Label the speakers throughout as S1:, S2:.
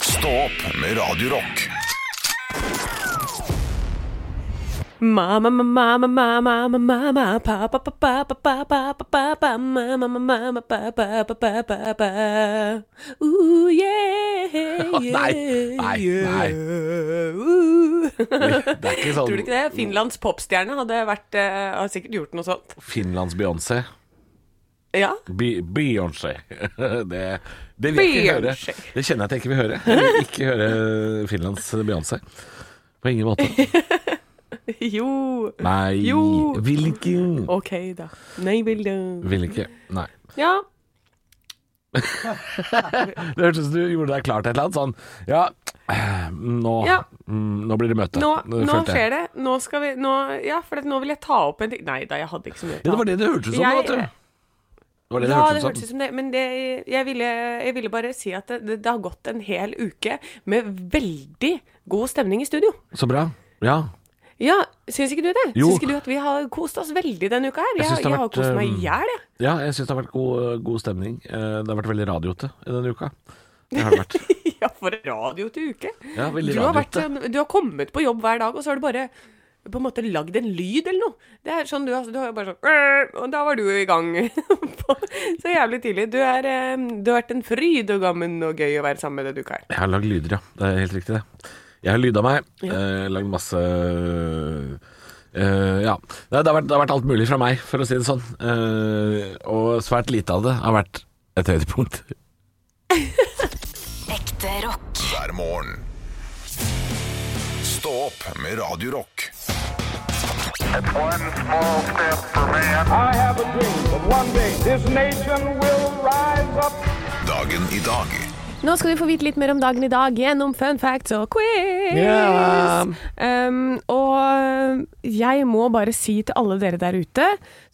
S1: Stå opp med Radio Rock.
S2: Mamma, mamma, mamma, mamma, mamma, pappa, pappa, pappa, pappa, pappa, mamma, mamma, pappa, pappa, pappa. Ooh, yeah, yeah,
S3: Nei, nei, nei.
S2: yeah, ooh.
S3: Det er ikke sånn
S2: Tror du ikke det? Finlands popstjerne hadde vært eh, Har sikkert gjort noe sånt.
S3: Finlands Beyoncé.
S2: Ja.
S3: Be- Beyoncé. Det, det vil jeg ikke høre.
S2: Beyoncé.
S3: Det kjenner jeg at jeg ikke vil høre. Jeg vil ikke høre Finlands Beyoncé. På ingen måte.
S2: Jo.
S3: Nei,
S2: Jo.
S3: vil ikke.
S2: Ok, da. Nei, bildet.
S3: Vil ikke. Nei.
S2: Ja.
S3: Det hørtes ut som du gjorde deg klar til et eller annet sånn Ja, nå,
S2: Ja.
S3: mm, nå blir det møte.
S2: Nå,
S3: Det
S2: nå
S3: følte jeg.
S2: skjer det. Nå skal vi nå, Ja, for at nå vil jeg ta opp en ting Nei da, jeg hadde ikke så mye å
S3: Ja,
S2: ta
S3: det var det det hørtes ut som,
S2: Jeg-
S3: vet du. Det var det det
S2: Ja, det
S3: hørtes ut
S2: hørtes
S3: som.
S2: ut som det, men det, jeg, ville, jeg ville bare si at det, det, det har gått en hel uke med veldig god stemning i studio.
S3: Så bra. Ja.
S2: Ja, syns ikke du det?
S3: Jo.
S2: Syns ikke du at vi har kost oss veldig denne uka her?
S3: Jeg
S2: Jeg,
S3: syns
S2: jeg,
S3: det har
S2: har
S3: vært,
S2: kost meg
S3: um,
S2: i hjel, jeg.
S3: Ja, jeg syns det har vært god, god stemning. Eh, Det har vært veldig radioete denne uka. Det har det vært.
S2: Ja, for radio til uke.
S3: Ja, veldig
S2: du, har vært,
S3: radioete.
S2: sånn- du har kommet på jobb hver dag, og så har du bare på en måte lagd en lyd eller noe. Det er sånn du, har- du har jo bare sånn «Øh», Og da var du i gang på, så jævlig tidlig. Du, er, eh, du har vært en fryd og gammen og gøy å være sammen med denne uka her.
S3: Jeg har lagd lyder, ja. Det er helt riktig, det. Jeg har lyda meg. eh, Lagd masse eh, ja. Nei, Det har, vært, det har vært alt mulig fra meg, for å si det sånn. Eh, og svært lite av det har vært et høydepunkt.
S4: Ekte rock.
S1: hver morgen. Stå opp med Radio Rock.
S5: One small step for man.
S6: I have a dream that one day this nation will rise up.
S1: Dagen i dag.
S2: Nå skal du få vite litt mer om dagen i dag gjennom fun facts og quiz.
S3: Ja.
S2: Um, og jeg må bare si til alle dere der ute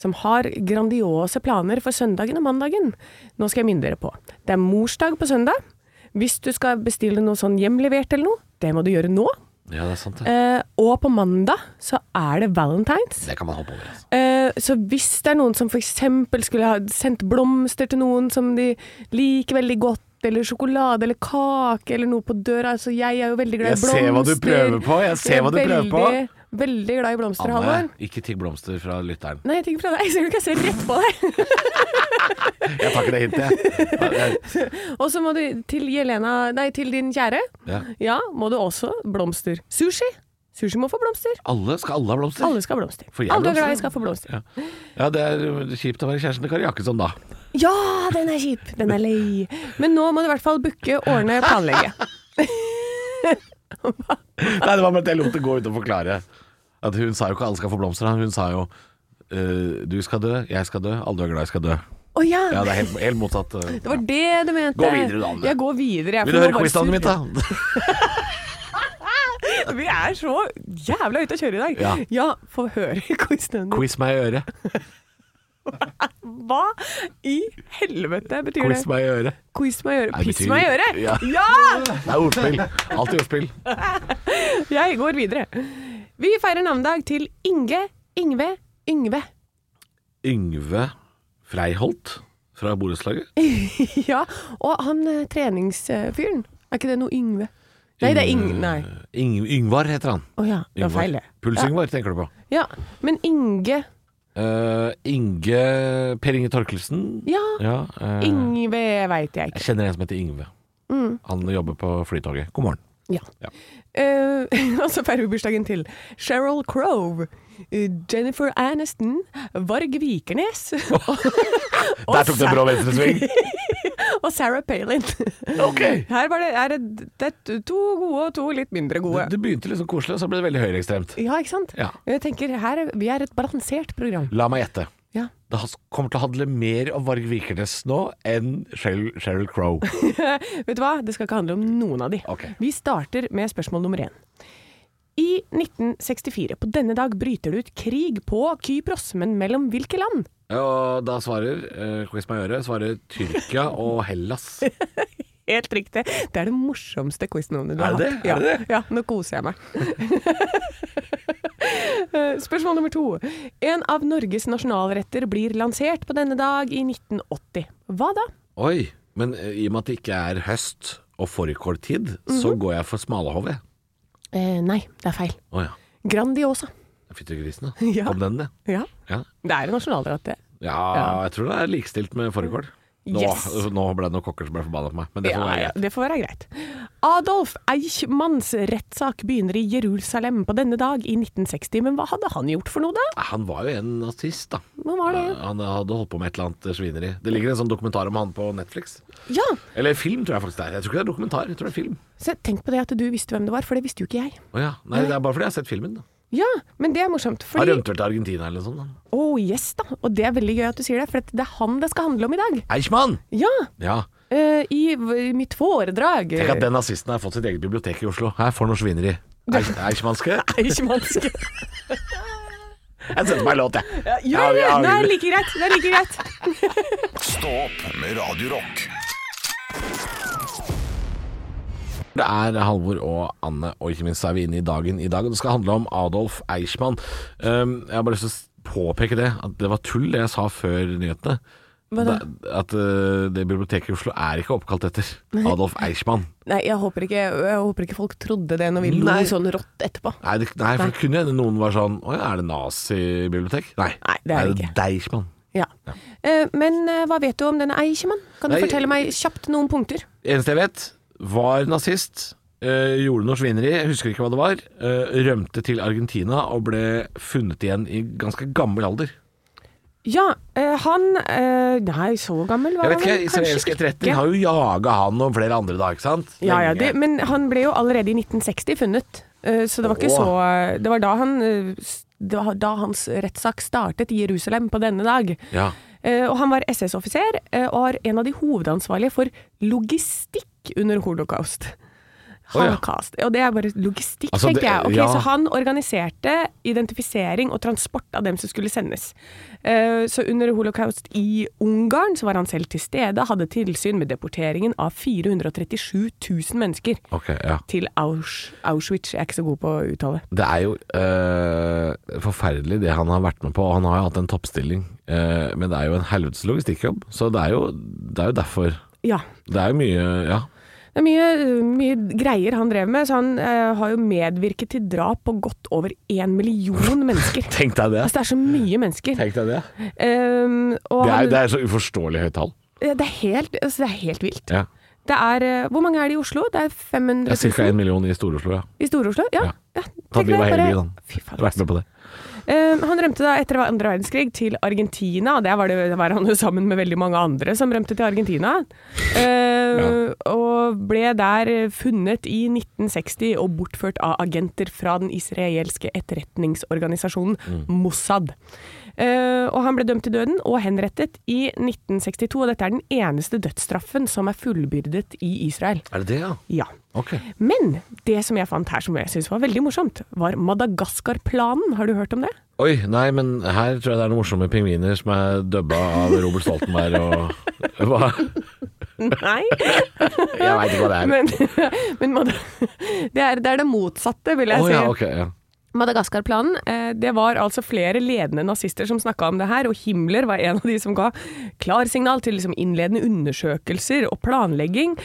S2: som har grandiose planer for søndagen og mandagen, nå skal jeg minne dere på. Det er morsdag på søndag. Hvis du skal bestille noe sånn hjemlevert eller noe, det må du gjøre nå.
S3: Ja, det er sant, det.
S2: Eh, og på mandag så er det valentines.
S3: Det kan man hoppe over. Altså.
S2: Eh, Så hvis det er noen som f.eks. skulle ha sendt blomster til noen som de liker veldig godt, eller sjokolade eller kake eller noe på døra altså, Jeg er jo veldig glad i
S3: Jeg
S2: blomster.
S3: ser hva du prøver på, jeg ser
S2: er
S3: hva du prøver på.
S2: veldig- Veldig glad i blomster, Halvor.
S3: Anne, ikke tigg blomster fra lytteren.
S2: Nei, jeg tenker fra deg. Ser du ikke, jeg ser rett på deg.
S3: Jeg tar ikke det hintet, jeg.
S2: Og så må du til Jelena Nei, til din kjære.
S3: Ja.
S2: Ja, må du også blomster. Sushi. Sushi må få blomster.
S3: Alle, skal alle ha blomster?
S2: Alle skal ha blomster.
S3: Får jeg
S2: Alle du er glad i
S3: blomster?
S2: skal få blomster.
S3: Ja. ja, det er kjipt å være kjæresten til Kari Jakkesson da.
S2: Ja, den er kjip. Den er lei. Men nå må du i hvert fall booke, ordne, planlegge.
S3: Nei, det var bare at jeg lot det gå uten å forklare. At hun sa jo ikke alle skal få blomster. Hun sa jo eh, du skal dø, jeg skal dø, alle du er glad i skal dø.
S2: Å ja.
S3: Ja, det er helt, helt motsatt. eh.
S2: Det var det du mente.
S3: Gå videre, Danne.
S2: Jeg går videre. Jeg,
S3: Vil
S2: for
S3: du
S2: nå
S3: høre
S2: bare
S3: quiz-navnet mitt,
S2: surrer
S3: da?
S2: jeg. Vi er så jævla ute å kjøre i dag.
S3: Ja.
S2: få høre quiz-navnet ditt.
S3: Quiz meg i øret.
S2: Hva i helvete betyr
S3: Quiz
S2: det?
S3: meg i øret.
S2: Quiz meg i øret.
S3: Nei,
S2: Piss
S3: betyr-
S2: meg i øret!
S3: Ja.
S2: ja!
S3: Det er ordspill. Alltid ordspill.
S2: Jeg går videre. Vi feirer navnedag til Inge, Ingve, Yngve.
S3: Yngve Freiholt fra borettslaget.
S2: Ja, og han eh, treningsfyren. Er ikke det noe Yngve? Nei, det er Ing... Nei.
S3: Yng Yngvar heter han.
S2: Å ja, det var
S3: Yngvar.
S2: feil, det.
S3: Puls-Yngvar tenker du på.
S2: Ja, men Inge
S3: Eh, Inge Per Inge Torkelsen.
S2: Ja,
S3: Ja, eh,
S2: Ingve veit jeg ikke.
S3: Jeg kjenner en som heter Yngve.
S2: Mm.
S3: Han jobber på Flytoget. God morgen.
S2: Ja.
S3: Ja.
S2: Eh, og så feirer vi bursdagen til Cheryl Crow, eh, Jennifer Aniston, Varg Vikernes og,
S3: Der tok det en brå venstresving.
S2: Sa- og Sarah Palin.
S3: Ok.
S2: Her var det, er det, det er to gode og to litt mindre
S3: Det,
S2: gode.
S3: det begynte liksom koselig, og så ble det veldig høyreekstremt.
S2: Ja, ikke sant?
S3: Ja.
S2: Jeg tenker her, er- Vi er et balansert program.
S3: La meg gjette.
S2: Ja.
S3: Det has- kommer til å handle mer om Varg Vikernes nå enn Sheryl, Sheryl Crow.
S2: Vet du hva? Det skal ikke handle om noen av de.
S3: Ok.
S2: Vi starter med spørsmål nummer én. I 1964, på denne dag, bryter det ut krig på Kypros, men mellom hvilke land?
S3: Og da svarer eh, Quiz meg i øret svarer Tyrkia og Hellas.
S2: Helt riktig. Det er det morsomste quiznavnet du
S3: Er
S2: har
S3: det
S2: hatt.
S3: det? Er det det?
S2: Ja, nå koser jeg meg. Eh, Spørsmål nummer to. En av Norges nasjonalretter blir lansert på denne dag i 1980. Hva da?
S3: Oi, men eh, i og med at det ikke er høst og fårikåltid, så går jeg for smalahove.
S2: Eh, nei, det er feil.
S3: Å ja.
S2: Grandiosa.
S3: Fyttegrisene.
S2: Ja.
S3: Kom den, det.
S2: Ja.
S3: Ja.
S2: Det er en nasjonalrett, det.
S3: ja, jeg tror det er likestilt med fårikål. Nå,
S2: Yes.
S3: nå ble det noen kokker som ble forbanna på meg, men det får
S2: Ja,
S3: være
S2: ja,
S3: greit.
S2: det får være greit. Adolf Eichmanns rettssak begynner i Jerusalem på denne dag i 1960. Men hva hadde han gjort for noe, da?
S3: Nei, Han var jo en nazist, da.
S2: Hva var det?
S3: Han hadde holdt på med et eller annet svineri. Det ligger en sånn dokumentar om han på Netflix.
S2: Ja,
S3: Eller film, tror jeg faktisk det er. Jeg tror ikke det er dokumentar, jeg tror det er film.
S2: så tenk på det at du visste hvem det var, for det visste jo ikke jeg.
S3: Å ja. Nei, det er bare fordi jeg har sett filmen. da
S2: Ja, men det er morsomt.
S3: Han
S2: Fordi,
S3: rømte vel til Argentina eller noe sånt. da.
S2: oh yes da, og det er veldig gøy at du sier det, for det er han det skal handle om i dag.
S3: Eichmann!
S2: Ja,
S3: Ja.
S2: eh, i, v- mitt foredrag.
S3: Tenk at den nazisten har fått sitt eget bibliotek i Oslo. Her får noe svineri. Eich- Eichmannske.
S2: Eichmannske.
S3: Jeg setter meg en låt, jeg.
S2: Ja, ja, ja, det er like greit. Det er like greit.
S1: Stå opp med Radio Rock.
S3: Det er Halvor og Anne, og ikke minst er vi inne i dagen i dag. og Det skal handle om Adolf Eichmann. Um, jeg har bare lyst til å påpeke det, at det var tull det jeg sa før nyhetene.
S2: Hva da?
S3: Det- At uh, det biblioteket i Oslo er ikke oppkalt etter Adolf Eichmann.
S2: Nei, jeg håper ikke, jeg håper ikke folk trodde det når vi lo
S3: Nei.
S2: sånn rått etterpå.
S3: Nei, det, nei for det kunne hende noen var sånn Å ja, er det nazibibliotek? Nei,
S2: Nei, det er det ikke.
S3: Deichman.
S2: Ja. Eh, men eh, hva vet du om denne Eichmann? Kan du
S3: Nei.
S2: fortelle meg kjapt noen punkter?
S3: Eneste jeg vet, var nazist. eh, gjorde noe svineri, jeg husker ikke hva det var. eh, rømte til Argentina og ble funnet igjen i ganske gammel alder.
S2: Ja, eh, han eh, Nei, så gammel var
S3: Jeg vet
S2: han
S3: ikke,
S2: vel kanskje
S3: Israelsk etterretning
S2: ikke.
S3: har jo jaga han og flere andre da, ikke sant?
S2: ja, ja,
S3: Lenge.
S2: det, Men han ble jo allerede i 1960 funnet, eh, så det var ikke
S3: Åh.
S2: så Det var da, han, eh, s- det var da hans rettssak startet i Jerusalem på denne dag.
S3: Ja.
S2: Eh, og han var SS-offiser eh, og var en av de hovedansvarlige for logistikk under holocaust.
S3: Å, ja.
S2: Holocaust. Og det er bare logistikk,
S3: Altså, det-
S2: tenkte jeg. Ok,
S3: ja.
S2: Så han organiserte identifisering og transport av dem som skulle sendes. Eh, så under holocaust i Ungarn så var han selv til stede, hadde tilsyn med deporteringen av 437 000 mennesker
S3: Ok, ja.
S2: til Aus Auschwitz. Jeg er ikke så god på å uttale.
S3: Det er jo eh, forferdelig det han har vært med på. og Han har jo hatt en toppstilling, eh, men det er jo en helvetes logistikkjobb. Så det er, jo, det er jo derfor
S2: Ja.
S3: Det er jo mye Ja.
S2: Det er mye, mye greier han drev med, så han eh, har jo medvirket til drap på godt over én million mennesker.
S3: Tenk deg det.
S2: Altså, det er så mye mennesker.
S3: Tenk deg det.
S2: Um, og
S3: Det er,
S2: han,
S3: det er så uforståelig høyt tall.
S2: det, er helt, altså, det er helt vilt.
S3: Ja.
S2: Det er, eh, hvor mange er det i Oslo? Det er 500
S3: Det er
S2: 000
S3: ca. 1 million i Stor-Oslo, ja.
S2: i Stor-Oslo? Ja.
S3: Ja.
S2: ja.
S3: Han
S2: tenk
S3: vil
S2: deg
S3: være
S2: bare-
S3: heldig, han.
S2: Fy faen, altså.
S3: Jeg har vært med på det.
S2: Eh, han rømte da etter andre verdenskrig til Argentina, og der var, det, var han jo sammen med veldig mange andre som rømte til Argentina. Eh, Og ble der funnet i 1960 og bortført av agenter fra den israelske etterretningsorganisasjonen Mossad. Eh, og han ble dømt til døden og henrettet i 1962, og dette er den eneste dødsstraffen som er fullbyrdet i Israel.
S3: Er det det, ja?
S2: Ja.
S3: Ok.
S2: Men det som jeg fant her som jeg syntes var veldig morsomt, var Madagaskar-planen. Har du hørt om det?
S3: Oi, nei, men her tror jeg det er noen morsomme pingviner som er dubba av Robert Stoltenberg og Hva?
S2: Nei.
S3: Jeg veit ikke hva det er.
S2: Men, men Mada- det, er, det er det motsatte, vil
S3: Å
S2: jeg si.
S3: ja, ok. Ja.
S2: Madagaskar-planen, eh, det var altså flere ledende nazister som snakka om det her, og Himmler var en av de som ga klarsignal til liksom innledende undersøkelser og planlegging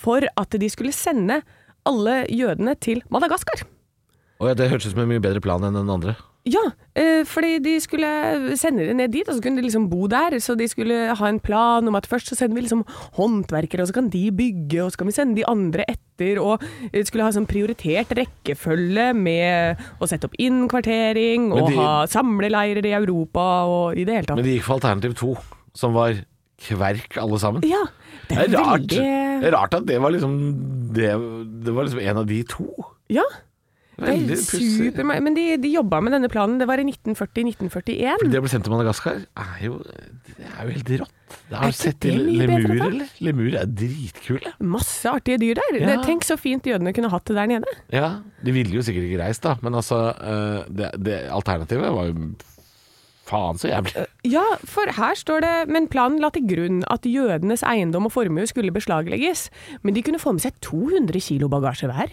S2: for at de skulle sende alle jødene til Madagaskar.
S3: Å, ja, det hørtes ut som en mye bedre plan enn den andre.
S2: Ja, eh, fordi de skulle sende det ned dit, og så kunne de liksom bo der. Så de skulle ha en plan om at først så sender vi liksom håndverkere, og så kan de bygge, og så kan vi sende de andre etter. Og eh, skulle ha sånn prioritert rekkefølge med å sette opp innkvartering,
S3: Men
S2: og
S3: de-
S2: ha samleleirer i Europa, og i det hele
S3: Men
S2: tatt.
S3: de gikk for alternativ to, som var kverk alle sammen.
S2: Ja, det
S3: Det
S2: er
S3: er rart. Det
S2: veldig
S3: er rart at det var liksom Det, det var liksom en av de to.
S2: Ja. Det
S3: Veldig
S2: er
S3: pussig.
S2: super, men de, de jobba med denne planen. Det var i 1940-1941.
S3: Det å bli sendt til Madagaskar er jo, det er jo helt rått. Det
S2: Er
S3: har
S2: ikke
S3: du sett
S2: det
S3: til
S2: mye bedre,
S3: lemurer,
S2: da?
S3: eller? Lemurer er dritkule.
S2: Masse artige dyr der.
S3: Ja.
S2: Det- Tenk så fint jødene kunne hatt det der nede.
S3: Ja, De ville jo sikkert ikke reist, da, men altså eh, det, det Alternativet var jo faen så jævlig.
S2: Ja, for her står det Men planen la til grunn at jødenes eiendom og formue skulle beslaglegges. Men de kunne få med seg 200 kilo bagasje hver.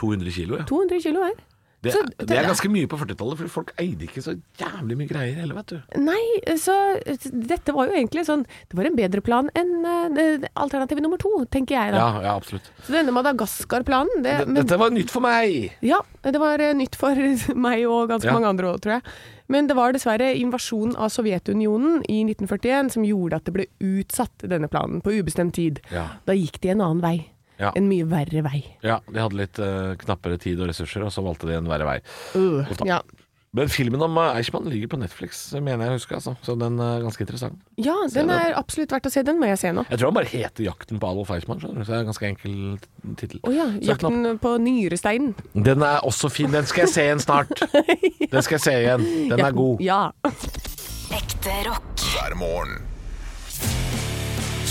S3: 200 kilo, ja.
S2: 200 kilo hver.
S3: Det,
S7: Så
S3: det,
S7: det-
S3: er ganske mye på 40-tallet, for folk eide ikke så jævlig mye greier heller, vet du.
S7: Nei, så dette var jo egentlig sånn Det var en bedre plan enn eh, alternativ nummer to, tenker jeg da.
S3: Ja, ja absolutt.
S7: Så denne Madagaskar-planen det,
S3: D-
S7: men-
S3: Dette var nytt for meg!
S7: Ja, det var eh, nytt for meg og ganske
S3: Ja.
S7: mange andre òg, tror jeg. Men det var dessverre invasjonen av Sovjetunionen i 1941 som gjorde at det ble utsatt denne planen på ubestemt tid.
S3: Ja.
S7: Da gikk de en annen vei.
S3: Ja.
S7: En mye verre vei.
S3: Ja, de hadde litt eh, knappere tid og ressurser, og så valgte de en verre vei.
S7: Øh,
S3: Uff da.
S7: ja.
S3: Men filmen om eh, Eichmann ligger på Netflix, mener jeg å huske, altså. så den er ganske interessant.
S7: ja, den er absolutt verdt å se. Den må jeg se nå.
S3: Jeg tror han bare heter 'Jakten på Adolf Eichmann', skjønner du, så det er en ganske enkel t- tittel.
S7: Å ja.
S3: Så det er knapp-
S7: Jakten på nyresteinen.
S3: Den er også fin, den skal jeg se igjen snart. Den skal jeg se igjen, den er god.
S7: Ja.
S2: Ekte rock.
S1: hver morgen.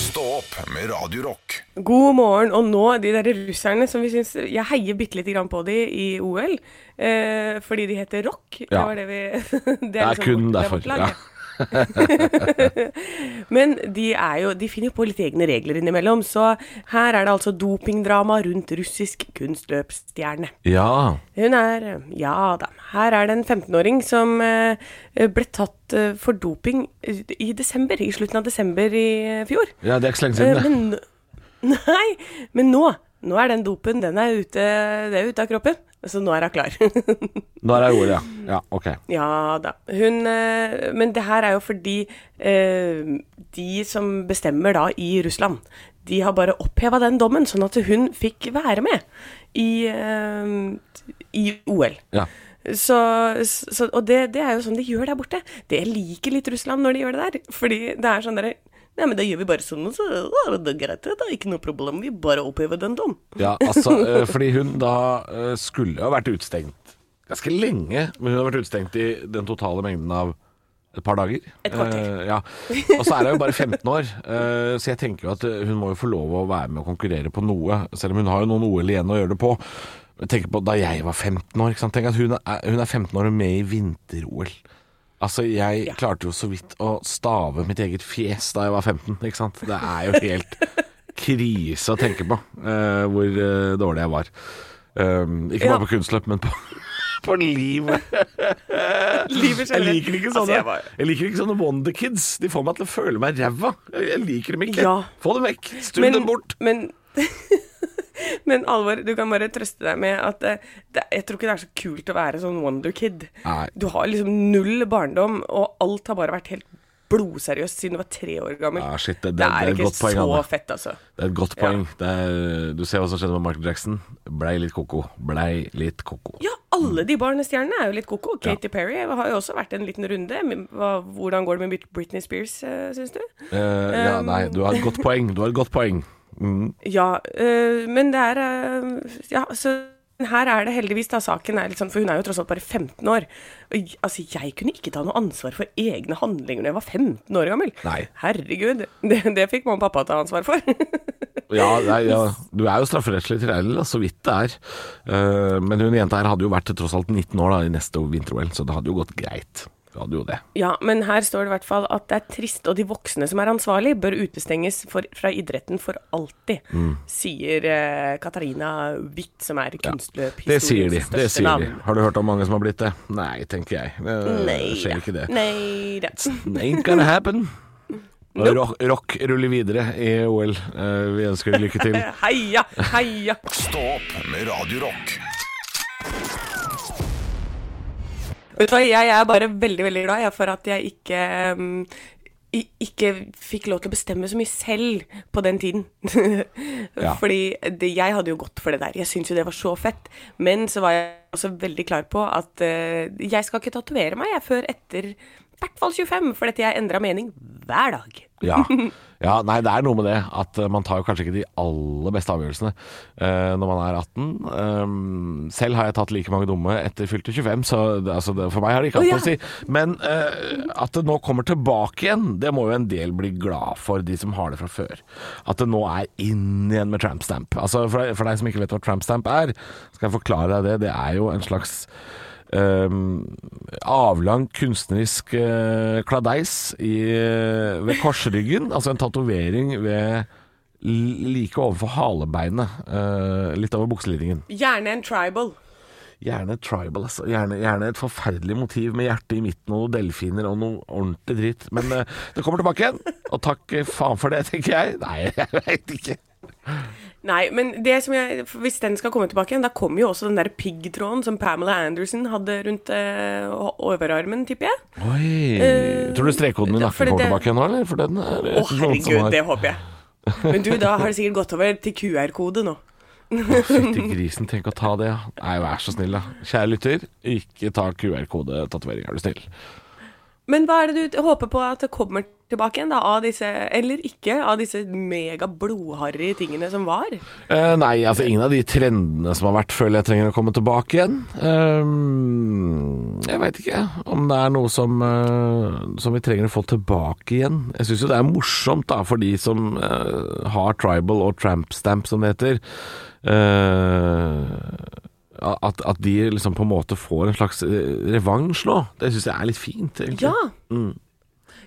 S1: Stå opp med Radio Rock.
S7: God morgen. Og nå, de der russerne som vi syns Jeg heier bitte lite grann på de i OL, eh, fordi de heter Rock.
S3: Ja.
S7: Det var det vi Det
S3: Det
S7: er
S3: er
S7: liksom
S3: kun
S7: vårt- det er
S3: derfor.
S7: vårt lag,
S3: Ja.
S7: ja. Men de, er jo, de finner jo på litt egne regler innimellom, så her er det altså dopingdrama rundt russisk kunstløpsstjerne.
S3: ja.
S7: Hun er Ja da. Her er det en 15-åring som eh, ble tatt eh, for doping eh, i desember, i slutten av desember i eh, fjor.
S3: Ja, det er ikke så lenge
S7: Eh,
S3: siden, det.
S7: Men, nei, men nå Nå er den dopen den er ute, det er ute av kroppen. Så nå er hun klar.
S3: Nå er det ordet, ja. Ja, ok.
S7: Ja da. Hun eh, Men det her er jo fordi eh, de som bestemmer da i Russland, de har bare oppheva den dommen, sånn at hun fikk være med i, eh, i OL.
S3: Ja.
S7: Så, så, og det, det er jo sånn de gjør der borte. Det jeg liker litt Russland når de gjør det der. Fordi det er sånn derre Nei, men da gjør vi bare sånn, og så er det greit. Det er ikke noe problem. Vi bare opphever den dom.
S3: Ja, altså, eh, fordi hun da eh, skulle ha vært utestengt ganske lenge, men hun har vært utestengt i den totale mengden av et par dager.
S7: Et kvarter.
S3: Eh, ja. Og så er hun jo bare 15 år, eh, så jeg tenker jo at eh, hun må jo få lov å være med og konkurrere på noe, selv om hun har jo noen OL igjen å gjøre det på. Jeg tenker på da jeg var 15 år, ikke sant? Tenk at hun er, hun er 15 år og med i vinter-OL. Altså, jeg klarte jo så vidt å stave mitt eget fjes da jeg var 15, ikke sant? Det er jo helt krise å tenke på eh, hvor eh, dårlig jeg var. Um, ikke bare
S7: Ja.
S3: på kunstløp, men på, på livet.
S7: Livet
S3: Jeg liker ikke sånne
S7: Altså, jeg var-
S3: Jeg liker ikke sånne Wonder Kids. De får meg til å føle meg ræva. Jeg jeg liker dem ikke.
S7: Ja.
S3: Få dem vekk. Stull dem bort.
S7: Men, men alvor, du kan bare trøste deg med at eh, det, jeg tror ikke det er så kult å være sånn wonderkid.
S3: Nei.
S7: Du har liksom null barndom, og alt har bare vært helt blodseriøst siden du var tre år gammel.
S3: Ja, shit, det- det-
S7: det
S3: det er
S7: er
S3: et
S7: ikke
S3: godt poeng,
S7: så
S3: Anne.
S7: fett, altså.
S3: Det er et godt poeng. Det er, du ser hva som skjedde med Michael Jackson. Blei litt koko. Blei litt koko.
S7: Ja, alle de barnestjernene er jo litt koko. Katy Perry har jo også vært en liten runde. Men hva- Hvordan går det med Britney Spears, uh, syns du?
S3: Eh, ja, nei, du har et godt poeng. Du har et godt poeng. Mm.
S7: Ja, øh, men det er øh, Ja, så her er det heldigvis da saken er litt sånn, for hun er jo tross alt bare 15 år. Og, j- altså, jeg kunne ikke ta noe ansvar for egne handlinger når jeg var 15 år gammel.
S3: Nei.
S7: Herregud, det, det fikk mamma og pappa ta ansvar for.
S3: Ja, nei, ja, du er jo strafferettslig tilregnelig, da, så vidt det er. Eh, men hun jenta her hadde jo vært tross alt 19 år da, i neste vinter-OL, så det hadde jo gått greit. Det hadde jo det.
S7: ja, men her står det i hvert fall at det er trist, og de voksne som er ansvarlig, bør utestenges for, fra idretten for alltid,
S3: Mm.
S7: sier øh, Katarina Witt, som er
S3: Det sier de.
S7: kunstløphistoriens
S3: det
S7: største
S3: sier de.
S7: navn.
S3: Har du hørt om mange som har blitt det? Nei, tenker jeg. Det
S7: Nei
S3: skjer ikke det.
S7: Nei da.
S3: Ain't gonna happen. Rock, rock ruller videre i OL. Eh, vi ønsker deg lykke til.
S7: Heia, heia.
S1: Stå opp med Radio Rock.
S7: Vet du hva, jeg er bare veldig, veldig glad jeg, for at jeg ikke um, i- ikke fikk lov til å bestemme så mye selv på den tiden.
S3: Ja.
S7: Fordi det, jeg hadde jo gått for det der. Jeg syntes jo det var så fett. Men så var jeg også veldig klar på at eh, jeg skal ikke tatovere meg jeg før etter i hvert fall 25, for dette jeg endra mening hver dag.
S3: Ja. ja. Nei, det er noe med det at eh, man tar jo kanskje ikke de aller beste avgjørelsene eh, når man er 18. Ehm, selv har jeg tatt like mange dumme etter fylte 25, så det, altså, det, for meg har det ikke hatt
S7: Å,
S3: noe å si. Men eh, at det nå kommer tilbake igjen, det må jo en del bli glad for, de som har det fra før. At det nå er inn igjen med tramp stamp. Altså, for, deg- for deg som ikke vet hva tramp stamp er, skal jeg forklare deg det. Det er jo en slags ehm, avlang kunstnerisk eh, kladeis i, eh, ved korsryggen, altså en tatovering ved l- like overfor halebeinet, eh, litt over bukselinningen.
S7: Gjerne en tribal.
S3: Gjerne tribal, altså. Gjerne, gjerne et forferdelig motiv med hjerte i midten og noen delfiner og noe ordentlig dritt. Men eh, det kommer tilbake igjen, og takk eh, faen for det, tenker jeg. Nei, jeg veit ikke.
S2: Nei, men det som jeg, for hvis den skal komme tilbake igjen, da kommer jo også den der piggtråden som Pamela Anderson hadde rundt eh, å- overarmen, tipper jeg. Å,
S3: Oi. Tror du strekkoden
S2: for
S3: i nakken kommer
S2: det-
S3: tilbake igjen nå, eller? For den er noen som
S2: herregud,
S3: har-
S2: det håper jeg. Men du, da har det sikkert gått over til QR-kode nå.
S3: Fytti grisen, tenk å ta det, ja. Nei, vær så snill, da. Kjære lytter, ikke ta QR-kodetatovering, er du snill.
S2: Men hva er det du håper på at det kommer tilbake igjen, da, av disse, eller ikke, av disse mega blodharry tingene som var?
S3: Eh, nei, altså ingen av de trendene som har vært, føler jeg trenger å komme tilbake igjen. Ehm, jeg veit ikke om det er noe som, eh, som vi trenger å få tilbake igjen. Jeg syns jo det er morsomt da, for de som eh, har tribal og tramp stamp, som det heter. eh, at, at de liksom på en måte får en slags eh, revansj nå. Det syns jeg er litt fint, egentlig.
S2: Ja.
S3: Mm.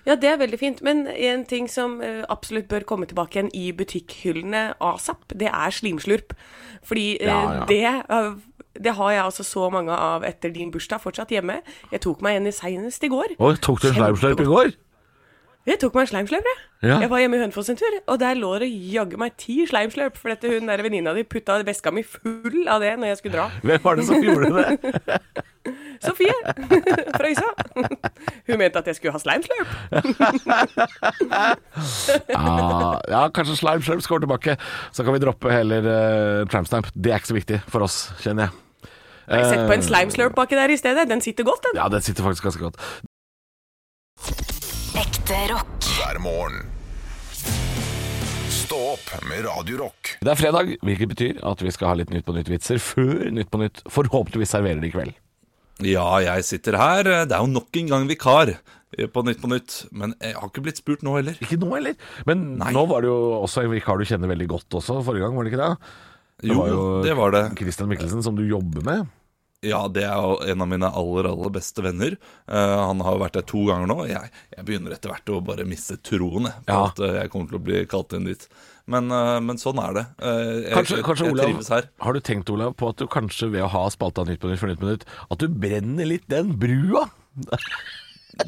S2: Ja, det er veldig fint. Men en ting som eh, absolutt bør komme tilbake igjen i butikkhyllene asap, det er slimslurp. Fordi eh,
S3: Ja, ja.
S2: det eh, det har jeg altså så mange av etter din bursdag fortsatt hjemme. Jeg tok meg en i seinest i går.
S3: Oi, tok du en slimslurp i går?
S2: Jeg tok meg en sleimslurp, jeg.
S3: Ja.
S2: Jeg var hjemme i Hønefoss en tur, og der lå det jaggu meg ti sleimslurp. For dette hun der venninna di putta veska mi full av det når jeg skulle dra.
S3: Hvem var det som gjorde det?
S2: Sofie fra Øysa. Hun mente at jeg skulle ha sleimslurp.
S3: Ja, Ah, ja kanskje slime slurps går tilbake. Så kan vi droppe heller uh, trampstamp. Det er ikke så viktig for oss, kjenner jeg. Eh,
S2: Sett på en slimeslurp baki der i stedet. Den sitter godt, den.
S3: Ja, det sitter faktisk ganske godt.
S4: Ekte rock.
S1: hver morgen. Stå opp med Radio Rock.
S3: Det er fredag, hvilket betyr at vi skal ha litt Nytt på nytt-vitser før Nytt på nytt forhåpentligvis serverer det i kveld.
S8: Ja, jeg sitter her. Det er jo nok en gang vikar eh, på Nytt på Nytt. Men jeg har ikke blitt spurt nå heller.
S3: Ikke nå, eller? Men nå var det jo også en vikar du kjenner veldig godt også, forrige gang, var det ikke det?
S8: Jo, det var det.
S3: Christian Mikkelsen, som du jobber med.
S8: Ja, det er jo en av mine aller, aller beste venner. Eh, han har vært der to ganger nå. Jeg, jeg begynner etter hvert å bare miste troen jeg, på
S3: Ja.
S8: at eh, jeg kommer til å bli kalt inn dit. Men, eh, men sånn er det. Eh, jeg,
S3: Kanskje,
S8: jeg,
S3: kanskje
S8: jeg
S3: Olav,
S8: trives her.
S3: har du tenkt, Olav, på at du kanskje ved å ha spalta Nytt på nytt for Nytt på nytt, at du brenner litt den brua?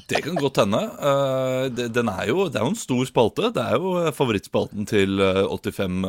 S8: Det kan godt hende. Eh, det, den er jo, det er jo en stor spalte. Det er jo eh, favorittspalten til eh, 85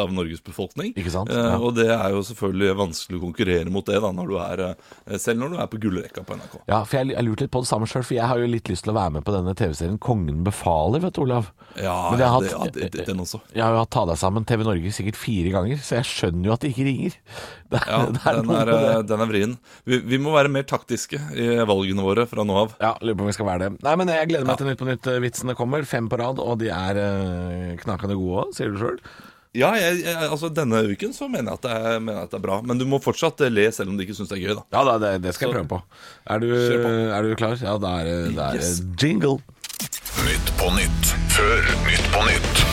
S8: av Norges befolkning.
S3: Ikke sant?
S8: Eh,
S3: Ja.
S8: Og det er jo selvfølgelig vanskelig å konkurrere mot det, da, når du er, eh, selv når du er på gullrekka på NRK.
S3: Ja, for jeg, jeg lurte litt på det samme sjøl, for jeg har jo litt lyst til å være med på denne TV-serien Kongen befaler, vet du, Olav.
S8: Ja,
S3: Men jeg
S8: ja,
S3: har
S8: det, ja
S3: hatt-
S8: det, det, den også.
S3: Jeg har jo hatt Ta deg sammen TV Norge sikkert fire ganger, så jeg skjønner jo at det ikke ringer. Det,
S8: Ja,
S3: det
S8: den
S3: noe
S8: er,
S3: med
S8: eh,
S3: det.
S8: den er vrien. Vi, vi må være mer taktiske i valgene våre fra nå av.
S3: Ja, lurer på om vi skal være det. Nei, men jeg gleder meg til Nytt på nytt-vitsene kommer. Fem på rad, og de er eh, knakende gode òg, sier du sjøl.
S8: Ja, jeg, jeg, altså Denne uken så mener jeg, at det er, mener jeg at det er bra. Men du må fortsatt eh, le selv om du ikke syns det er gøy. da
S3: Ja da, det, det skal jeg prøve på. Er du,
S8: Kjør på.
S3: er du klar? Ja, da er det- det er
S8: Yes.
S3: det jingle.
S1: Nytt på nytt før Nytt på nytt.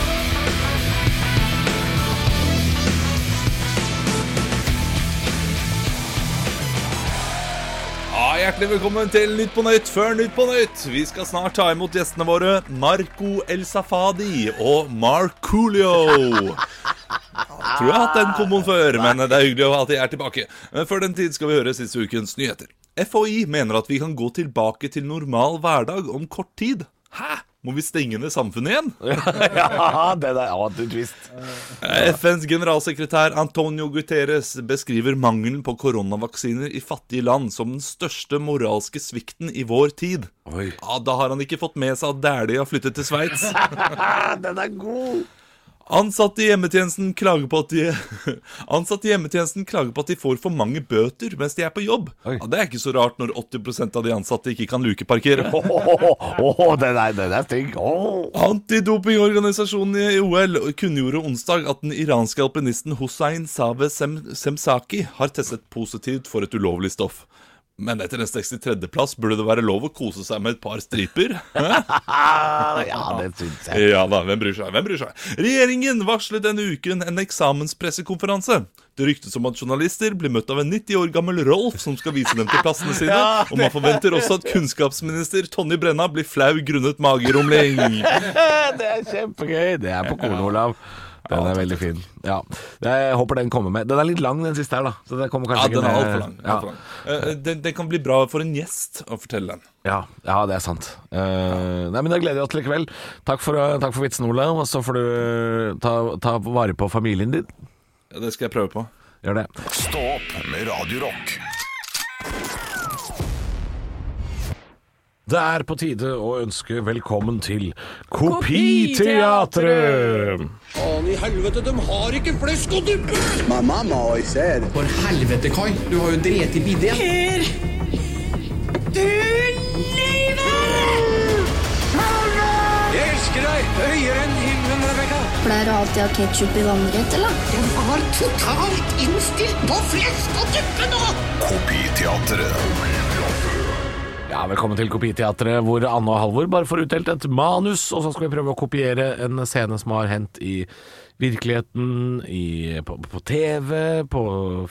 S8: Ja, Hjertelig velkommen til Nytt på Nytt før Nytt på Nytt. Vi skal snart ta imot gjestene våre Marco El Safadi og Marcoolio. Jeg tror jeg har hatt den komboen før, men det er hyggelig at jeg er tilbake. Men før den tid skal vi høre siste ukens nyheter. FHI mener at vi kan gå tilbake til normal hverdag om kort tid. Hæ? Må vi stenge ned samfunnet igjen?
S3: ja, det er ja, du twist.
S8: FNs generalsekretær Antonio Guterres beskriver mangelen på koronavaksiner i fattige land som den største moralske svikten i vår tid.
S3: Oi.
S8: Ja, da har han ikke fått med seg at Dæhlie har flyttet til Sveits.
S3: Ja, den er god.
S8: Ansatte i hjemmetjenesten klager på at de Ansatte i hjemmetjenesten klager på at de får for mange bøter mens de er på jobb.
S3: Oi.
S8: Ja, det er ikke så rart når 80 av de ansatte ikke kan lukeparkere.
S3: Åh, åh, åh, åh, den er, den er stygg. Åh.
S8: Antidopingorganisasjonen i OL kunngjorde onsdag at den iranske alpinisten Hussein Sabe Sem Semsaki har testet positivt for et ulovlig stoff. Men etter en 63.-plass burde det være lov å kose seg med et par striper. Hæ?
S3: Ah, ja, det syns jeg.
S8: Ja da, hvem bryr seg? Hvem bryr seg? Regjeringen varslet denne uken en eksamenspressekonferanse. Det ryktes om at journalister blir møtt av en 90 år gammel Rolf som skal vise dem til plassene sine, og man forventer også at kunnskapsminister Tonje Brenna blir flau grunnet mageromling.
S3: Det er kjempegøy. Det er på kornet, Olav. Den er veldig fin. Ja. Jeg håper den kommer med. Den er litt lang, den siste her, da. Så den kommer
S8: Ja,
S3: kanskje
S8: den
S3: ikke
S8: er
S3: med-
S8: altfor lang. alt for lang. Eh, Den, den kan bli bra for en gjest å fortelle den.
S3: Ja. ja, ja, det er sant. Eh, Nei, men Da gleder vi oss til i kveld. Takk for, eh, takk for vitsen, Olav. Og så får du ta, ta vare på familien din.
S8: Ja, Det skal jeg prøve på.
S3: Gjør det.
S1: Stå opp med Radio Rock.
S3: Det er på tide å ønske velkommen til
S2: Kopiteatret!
S3: Kopiteatret!
S9: My mama always said,
S10: Helvete, Kai. Du har jo drept i bidé.
S11: Pleier du alltid å ha ketsjup i vannrett, eller?
S1: Kopiteatret.
S3: Ja, Velkommen til Kopiteatret, hvor Anne og Halvor bare får utdelt et manus, og så skal vi prøve å kopiere en scene som har hendt i virkeligheten, i, på, på TV, på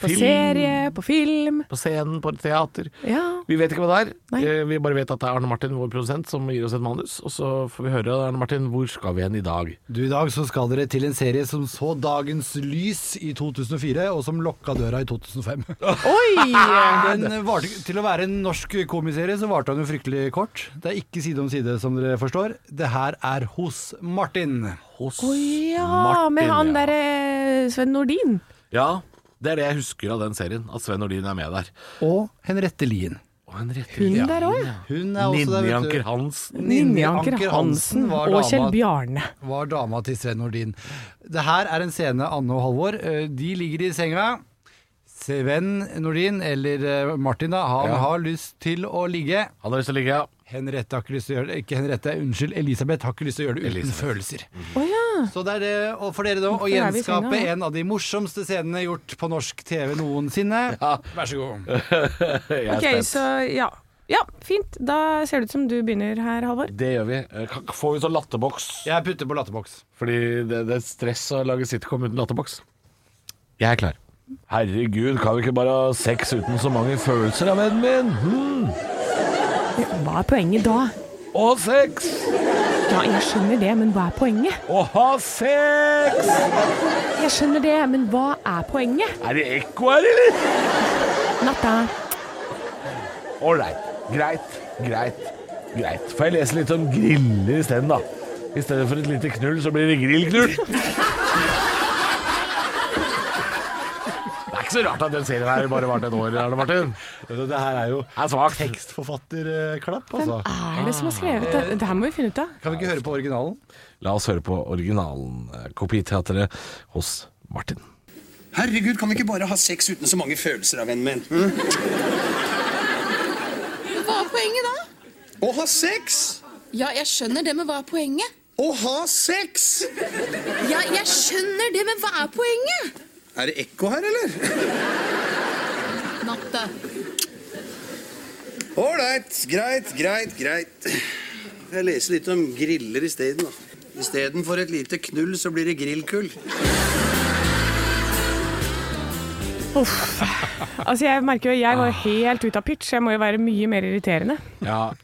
S3: film
S2: På serie, på film.
S3: på scenen, på et teater.
S2: Ja.
S3: Vi vet ikke hva det er.
S2: Nei.
S3: Eh, Vi bare vet at det er Arne Martin, vår produsent, som gir oss et manus. Og så får vi høre, Arne Martin, hvor skal vi hen i dag?
S12: Du, I dag så skal dere til en serie som så dagens lys i 2004, og som lokka døra i 2005.
S2: Oi!
S12: Den varte, til å være en norsk komiserie så varte han jo fryktelig kort. Det er ikke side om side, som dere forstår. Det her er Hos Martin.
S3: Hos
S2: Ja, med han
S3: ja.
S2: derre Sven Nordin.
S3: Ja, det er det jeg husker av den serien. At Sven Nordin er med der.
S12: Og Henriette Lien.
S3: Og en rett-
S2: Hun
S3: ja.
S2: der òg, ja.
S12: Hun er også
S3: Ninni
S12: der,
S3: Anker
S12: vet du.
S3: Hansen.
S2: Ninni Anker
S12: Anker Hansen
S2: Hansen
S12: var
S2: og
S12: dama-
S2: Kjell Bjarne.
S12: Var dama til Sven Nordin. Det her er en scene Anne og Halvor. eh, De ligger i senga. Sven Nordin, eller eh, Martin, da, han
S3: Ja.
S12: har lyst til å ligge.
S3: Han har lyst til å ligge, ja.
S12: Henriette har ikke lyst til å gjøre det Ikke Henriette, unnskyld, Elisabeth har ikke lyst til å gjøre det uten følelser.
S2: Å ja.
S12: Så det er det og for dere da å
S2: Hvorfor er vi i senga,
S12: gjenskape
S2: da?
S12: en av de morsomste scenene gjort på norsk TV noensinne. Vær så god.
S3: Jeg er
S2: Ok,
S3: spent.
S2: så ja. Ja, fint. Da ser det ut som du begynner her, Halvor.
S3: Det gjør vi. Eh, kan- Får vi sånn latterboks?
S12: Jeg putter på latterboks.
S3: Fordi det, det er stress å lage sitcom uten latterboks. Jeg er klar. Herregud, kan vi ikke bare ha sex uten så mange følelser, da, vennen min? Hmm.
S2: Hva er poenget da?
S3: Og sex!
S2: Ja, jeg skjønner det, men hva er poenget?
S3: Å ha sex!
S2: Jeg skjønner det, men hva er poenget?
S3: Er det ekko her, eller?
S2: Natta.
S3: Ålreit. Greit, greit, greit. Får jeg lese litt om griller isteden, da? I stedet for et lite knull, så blir det grillknull. Det er ikke så rart at den serien her bare varte et år, Arne Martin.
S12: Det her er jo
S3: Det er svakt.
S12: tekstforfatterklapp,
S2: Hvem
S12: altså.
S2: er det som har skrevet det? Det her må vi finne ut av.
S12: Kan vi ikke høre på originalen?
S3: La oss høre på originalen. eh, Kopiteatret hos Martin.
S9: Herregud, kan vi ikke bare ha sex uten så mange følelser av vennen min? Hm?
S11: Hva er poenget da?
S9: Å ha sex!
S11: Ja, jeg skjønner det, men hva er poenget?
S9: Å ha sex!
S11: Ja, jeg skjønner det, men hva er poenget?
S9: Er det ekko her, eller?
S11: Natta.
S9: Ålreit, greit, greit, greit. Jeg leser litt om griller isteden, da. Istedenfor et lite knull, så blir det grillkull.
S2: Altså, jeg merker jo jeg var helt ute av pitch. Jeg må jo være mye mer irriterende.
S3: Ja. øh,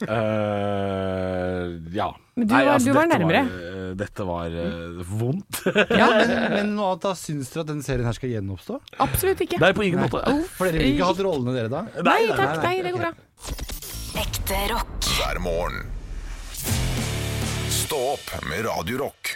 S3: ja.
S2: Men du var- du var
S3: dette
S2: nærmere.
S3: Var, øh, dette var øh, vondt.
S12: Ja, men, men noe annet da, syns dere at den serien her skal gjenoppstå?
S2: Absolutt ikke.
S3: Nei, på ingen måte.
S12: For dere vil ikke ha hatt rollene dere da?
S2: Nei takk, nei, det går bra.
S13: Ekte rock.
S1: Hver morgen. Stå opp med Radio Rock.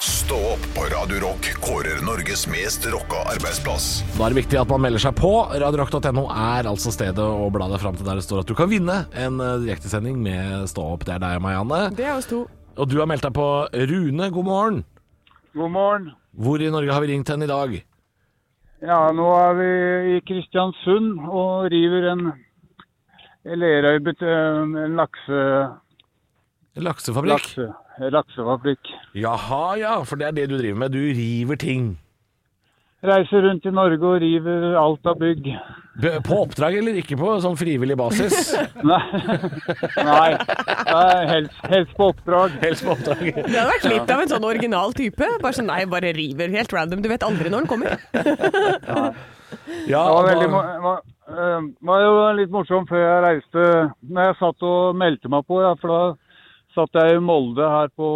S1: Stå opp på Radio Rock kårer Norges mest rocka arbeidsplass.
S3: Da er det viktig at man melder seg på. Radiorock.no er altså stedet å bla deg fram til der det står at du kan vinne en øh, direktesending med Stå opp. Det er deg, Marianne.
S2: Det er oss to.
S3: Og du har meldt deg på Rune. God morgen.
S5: God morgen.
S3: Hvor i Norge har vi ringt hen i dag?
S5: Ja, nå er vi i Kristiansund og river en Lerøybet, en en lakse,
S3: Laksefabrikk.
S5: lakse, laksefabrikk.
S3: Jaha, ja. For det er det du driver med. Du river ting.
S5: Reiser rundt i Norge og river alt av bygg.
S3: B- På oppdrag eller ikke på sånn frivillig basis?
S5: Nei, Nei. det er helst, helst på oppdrag.
S3: Helst på oppdrag.
S2: Det hadde vært litt av en sånn original type. Bare sånn nei, bare river helt random. Du vet aldri når den kommer.
S3: Ja,
S5: Det
S3: da-
S5: var, veldig, mo- var, eh, var jo litt morsomt før jeg reiste, når jeg satt og meldte meg på, ja, for da satt jeg i Molde her på,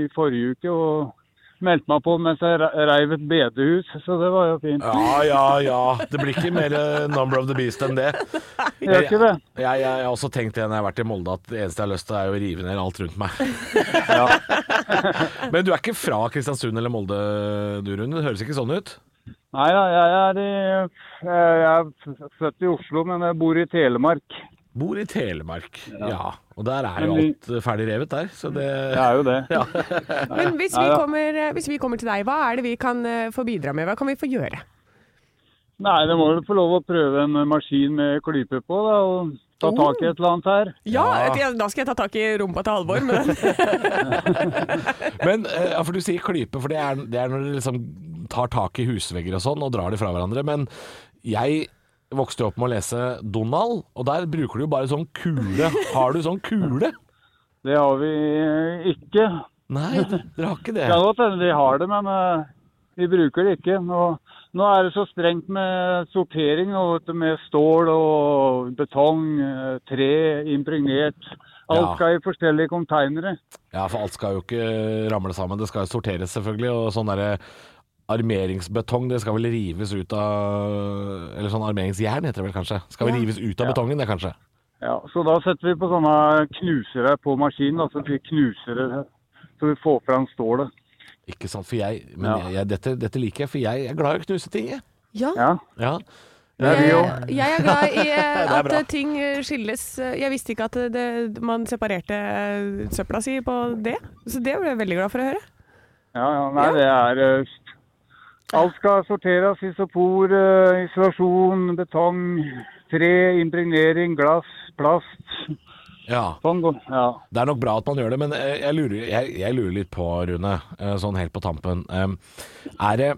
S5: i forrige uke og meldte meg på mens jeg re- reiv et bedehus, så det var jo fint.
S3: Ja, ja, ja. Det blir ikke mer eh, Number of the Beast enn det.
S5: Det gjør ikke det.
S3: Jeg, jeg, jeg har også tenkt det når jeg har vært i Molde, at det eneste jeg har lyst til, er å rive ned alt rundt meg. Men du er ikke fra Kristiansund eller Molde, du, Rune? Det høres ikke sånn ut?
S5: Nei da, jeg er, i, jeg er f- født i Oslo, men jeg bor i Telemark.
S3: Bor i Telemark, ja. Og der er
S5: Men
S3: jo
S5: vi-
S3: alt eh, ferdig revet der, så det
S5: Det er jo det.
S2: Men hvis vi, kommer, eh, hvis vi kommer til deg, hva er det vi kan eh, få bidra med? Hva kan vi få gjøre?
S5: Nei, det må du få lov å prøve en maskin med klype på, da, og ta tak i et eller annet her.
S2: Ja, jeg- da skal jeg ta tak i rumpa til Halvor. Men
S3: Men eh, ja, for du sier klype, for det er, det er når du liksom tar tak i husvegger og sånn og drar de fra hverandre. Men jeg vokste jo opp med å lese Donald, og der bruker du jo bare sånn kule. Har du sånn kule?
S5: Det har vi ikke.
S3: Nei, dere har ikke det.
S5: Det kan godt hende de har det, men eh, vi bruker det ikke. Nå, nå er det så strengt med sortering, nå, vet du, med stål og betong, eh, tre, impregnert. Alt
S3: Ja.
S5: skal i forskjellige konteinere.
S3: Ja, for alt skal jo ikke ramle sammen. Det skal jo sorteres, selvfølgelig. Og sånn derre armeringsbetong, det skal vel rives ut av Eller sånn armeringsjern, heter det vel kanskje. Skal vel
S5: Ja.
S3: rives ut av
S5: Ja.
S3: betongen, det, kanskje.
S5: Ja, så da setter vi på sånne knusere på maskinen, da, så vi knuser det, så vi får fram stålet.
S3: Ikke sant, for jeg Men
S5: Ja.
S3: jeg, jeg, dette, dette liker jeg, for jeg er glad i å knuse ting, jeg.
S2: ja,
S5: Ja,
S3: Ja.
S5: vi jo.
S2: jeg, jeg er glad i eh,
S3: er
S2: at
S3: bra.
S2: eh, ting eh, skilles. Eh, Jeg visste ikke at eh, det, man separerte eh, søpla si på det, så det ble jeg veldig glad for å høre.
S5: ja, ja nei, det er eh, Alt skal sorteres. Isopor, eh, isolasjon, betong, tre, impregnering, glass, plast.
S3: ja.
S5: Sånn går Ja.
S3: Det er nok bra at man gjør det, men eh, jeg lurer, jeg, jeg lurer litt på, Rune, eh, sånn helt på tampen. Eh, Er det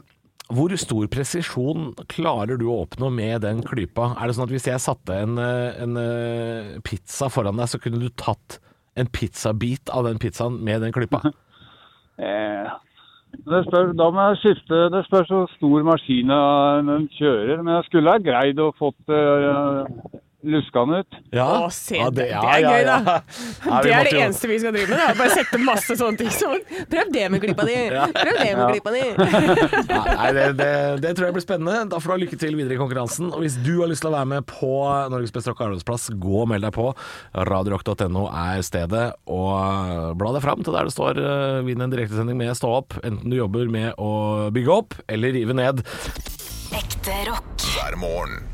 S3: hvor stor presisjon klarer du å oppnå med den klypa? Er det sånn at hvis jeg satte en, eh, en eh, pizza foran deg, så kunne du tatt en pizzabit av den pizzaen med den klypa?
S5: Eh, Det spør, da må jeg skifte. Det spørs hvor stor maskin den kjører. Men jeg skulle ha greid å fått eh, luska den ut.
S3: Ja,
S2: Å, se, det- det er gøy, da.
S3: Ja, vi
S2: det er
S3: måtte
S2: det
S3: jo-
S2: eneste vi skal drive med. Da. Bare sette masse sånne ting som Prøv det med klippa di! Prøv det med
S5: Ja.
S2: klippa di!
S3: Nei, det, det, det tror jeg blir spennende. Da får du ha lykke til videre i konkurransen. Og hvis du har lyst til å være med på Norges beste rock og arbeidsplass, gå og meld deg på. Radiorock.no er stedet. Og bla deg fram til der det står eh, 'vinn en direktesending med Stå opp'. Enten du jobber med å bygge opp eller rive ned.
S4: Ekte rock.
S1: hver morgen.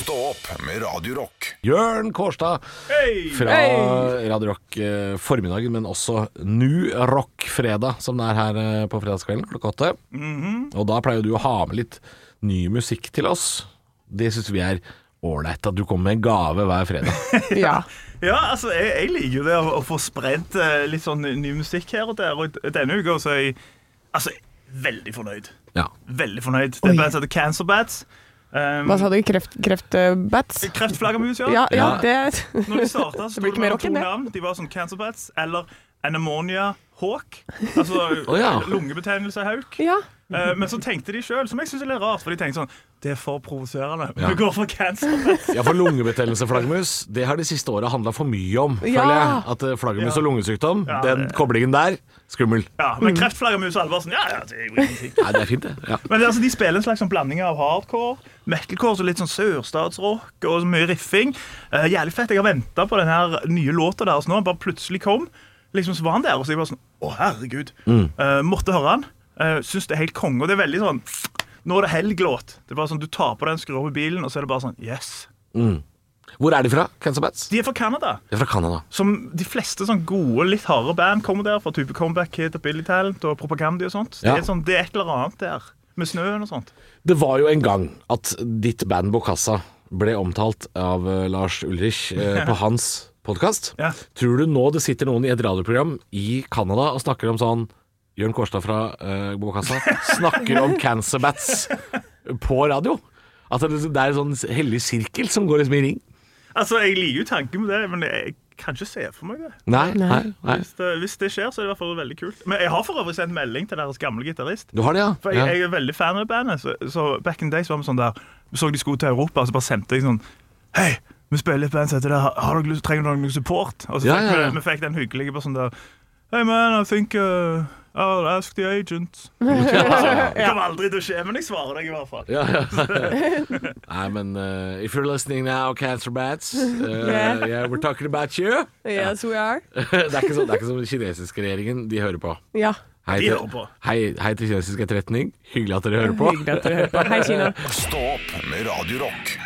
S1: Stå opp med Radio Rock.
S3: Jørn Kårstad fra Radio Rock eh, formiddagen, men også Nu Rock fredag, som det er her eh, på fredagskvelden klokka åtte.
S12: Mhm.
S3: Og da pleier du å ha med litt ny musikk til oss. Det syns vi er ålreit, at du kommer med en gave hver fredag.
S2: Ja.
S12: Ja, altså, jeg, jeg liker jo det å, å få spredd eh, litt sånn ny- ny musikk her og der. Og d- denne uka så er jeg altså, veldig fornøyd.
S3: Ja.
S12: Veldig fornøyd. Det er bandet som heter Cancer Bats. Um,
S2: Hva sa du? Kreft, kreftbats?
S12: Kreftflaggermus, ja.
S2: Ja, ja, det
S12: Når de starta, så
S2: Det blir ikke mer
S12: sto det mellom
S2: rock
S12: to
S2: enn det.
S12: navn. De var sånn Cancer Bats eller Anemonia Hawk. Altså
S3: Å, ja.
S12: lungebetennelse hauk.
S2: Ja.
S12: Eh, men så tenkte de sjøl, som jeg syns er litt rart, for de tenkte sånn Det er for provoserende.
S3: Ja.
S12: Vi går for Cancer Bats.
S3: Ja, for lungebetennelse, flaggermus, det har de siste åra handla for mye om,
S12: Ja.
S3: føler jeg. At eh, flaggermus
S12: Ja.
S3: og lungesykdom,
S12: Ja,
S3: den
S12: det-
S3: koblingen der, skummel.
S12: Ja, men kreftflaggermus og alle bare sånn Ja, ja, det er jo ingenting.
S3: Nei, det er fint, det. Ja.
S12: Men det, altså, De spiller en slags sånn blanding av hardcore, metalcore, så litt sånn sørstatsrock og så mye riffing. Eh, jævlig fett. Jeg har venta på den her nye låta deres nå. Den bare plutselig kom. Liksom så var han der, og så jeg bare sånn Å, herregud.
S3: Mm.
S12: Eh, måtte høre han. Uh, Syns det er helt konge. Og det er veldig sånn Nå er det helg-låt. Det er bare sånn, Du tar på den, skrur på bilen, og så er det bare sånn Yes.
S3: Mm. Hvor er de fra, Cancer Bats?
S12: De er fra Canada.
S3: De er fra Canada.
S12: Som de fleste sånn gode, litt harde band kommer der fra. Type Comeback Kid og Billy Talent og Propaganda og sånt.
S3: Ja.
S12: Det, er sånn, det er et eller annet der. Med snøen og sånt.
S3: Det var jo en gang at ditt band Bokassa ble omtalt av eh, Lars Ulrich eh, på hans podkast.
S12: Ja.
S3: Tror du nå det sitter noen i et radioprogram i Canada og snakker om sånn Jørn Kårstad fra eh, Bokassa snakker om cancer bats på radio? At det det er en sånn hellig sirkel som går liksom i ring?
S12: Altså, Jeg liker jo tanken med det, men jeg kan ikke se for meg det.
S3: Nei, nei, nei.
S12: Hvis det, hvis det skjer, så er det i hvert fall veldig kult. Men jeg har for øvrig sendt melding til deres gamle gitarist.
S3: Du har det, ja?
S12: For jeg,
S3: Ja.
S12: jeg er veldig fan av bandet. Så, så back in the day så var vi sånn der Vi så de skulle til Europa, og så bare sendte jeg sånn Hei, vi spiller i et band som heter det. Har- Har dere lyst, trenger dere noe support? Og så
S3: Ja,
S12: fikk
S3: ja, ja.
S12: Vi, vi fikk den hyggelige bare sånn der Hey man, I think uh, I'll ask the agent.
S3: Ja.
S12: Det kommer aldri til å skje, men jeg svarer deg i hvert fall.
S3: Ja, ja. Nei, men eh, if you're listening now, cancer bats, eh,
S12: Yeah.
S3: yeah, we're talking about you.
S2: Yes, we are.
S3: det, er ikke sånn, det er ikke som den kinesiske regjeringen, de hører på.
S2: Ja.
S3: Hei
S2: De
S3: til,
S2: hører på.
S3: hei, hei til kinesisk etterretning. Hyggelig at dere hører på.
S2: Hyggelig at dere hører på. Hei, Kina.
S1: Stå opp med Radio Rock.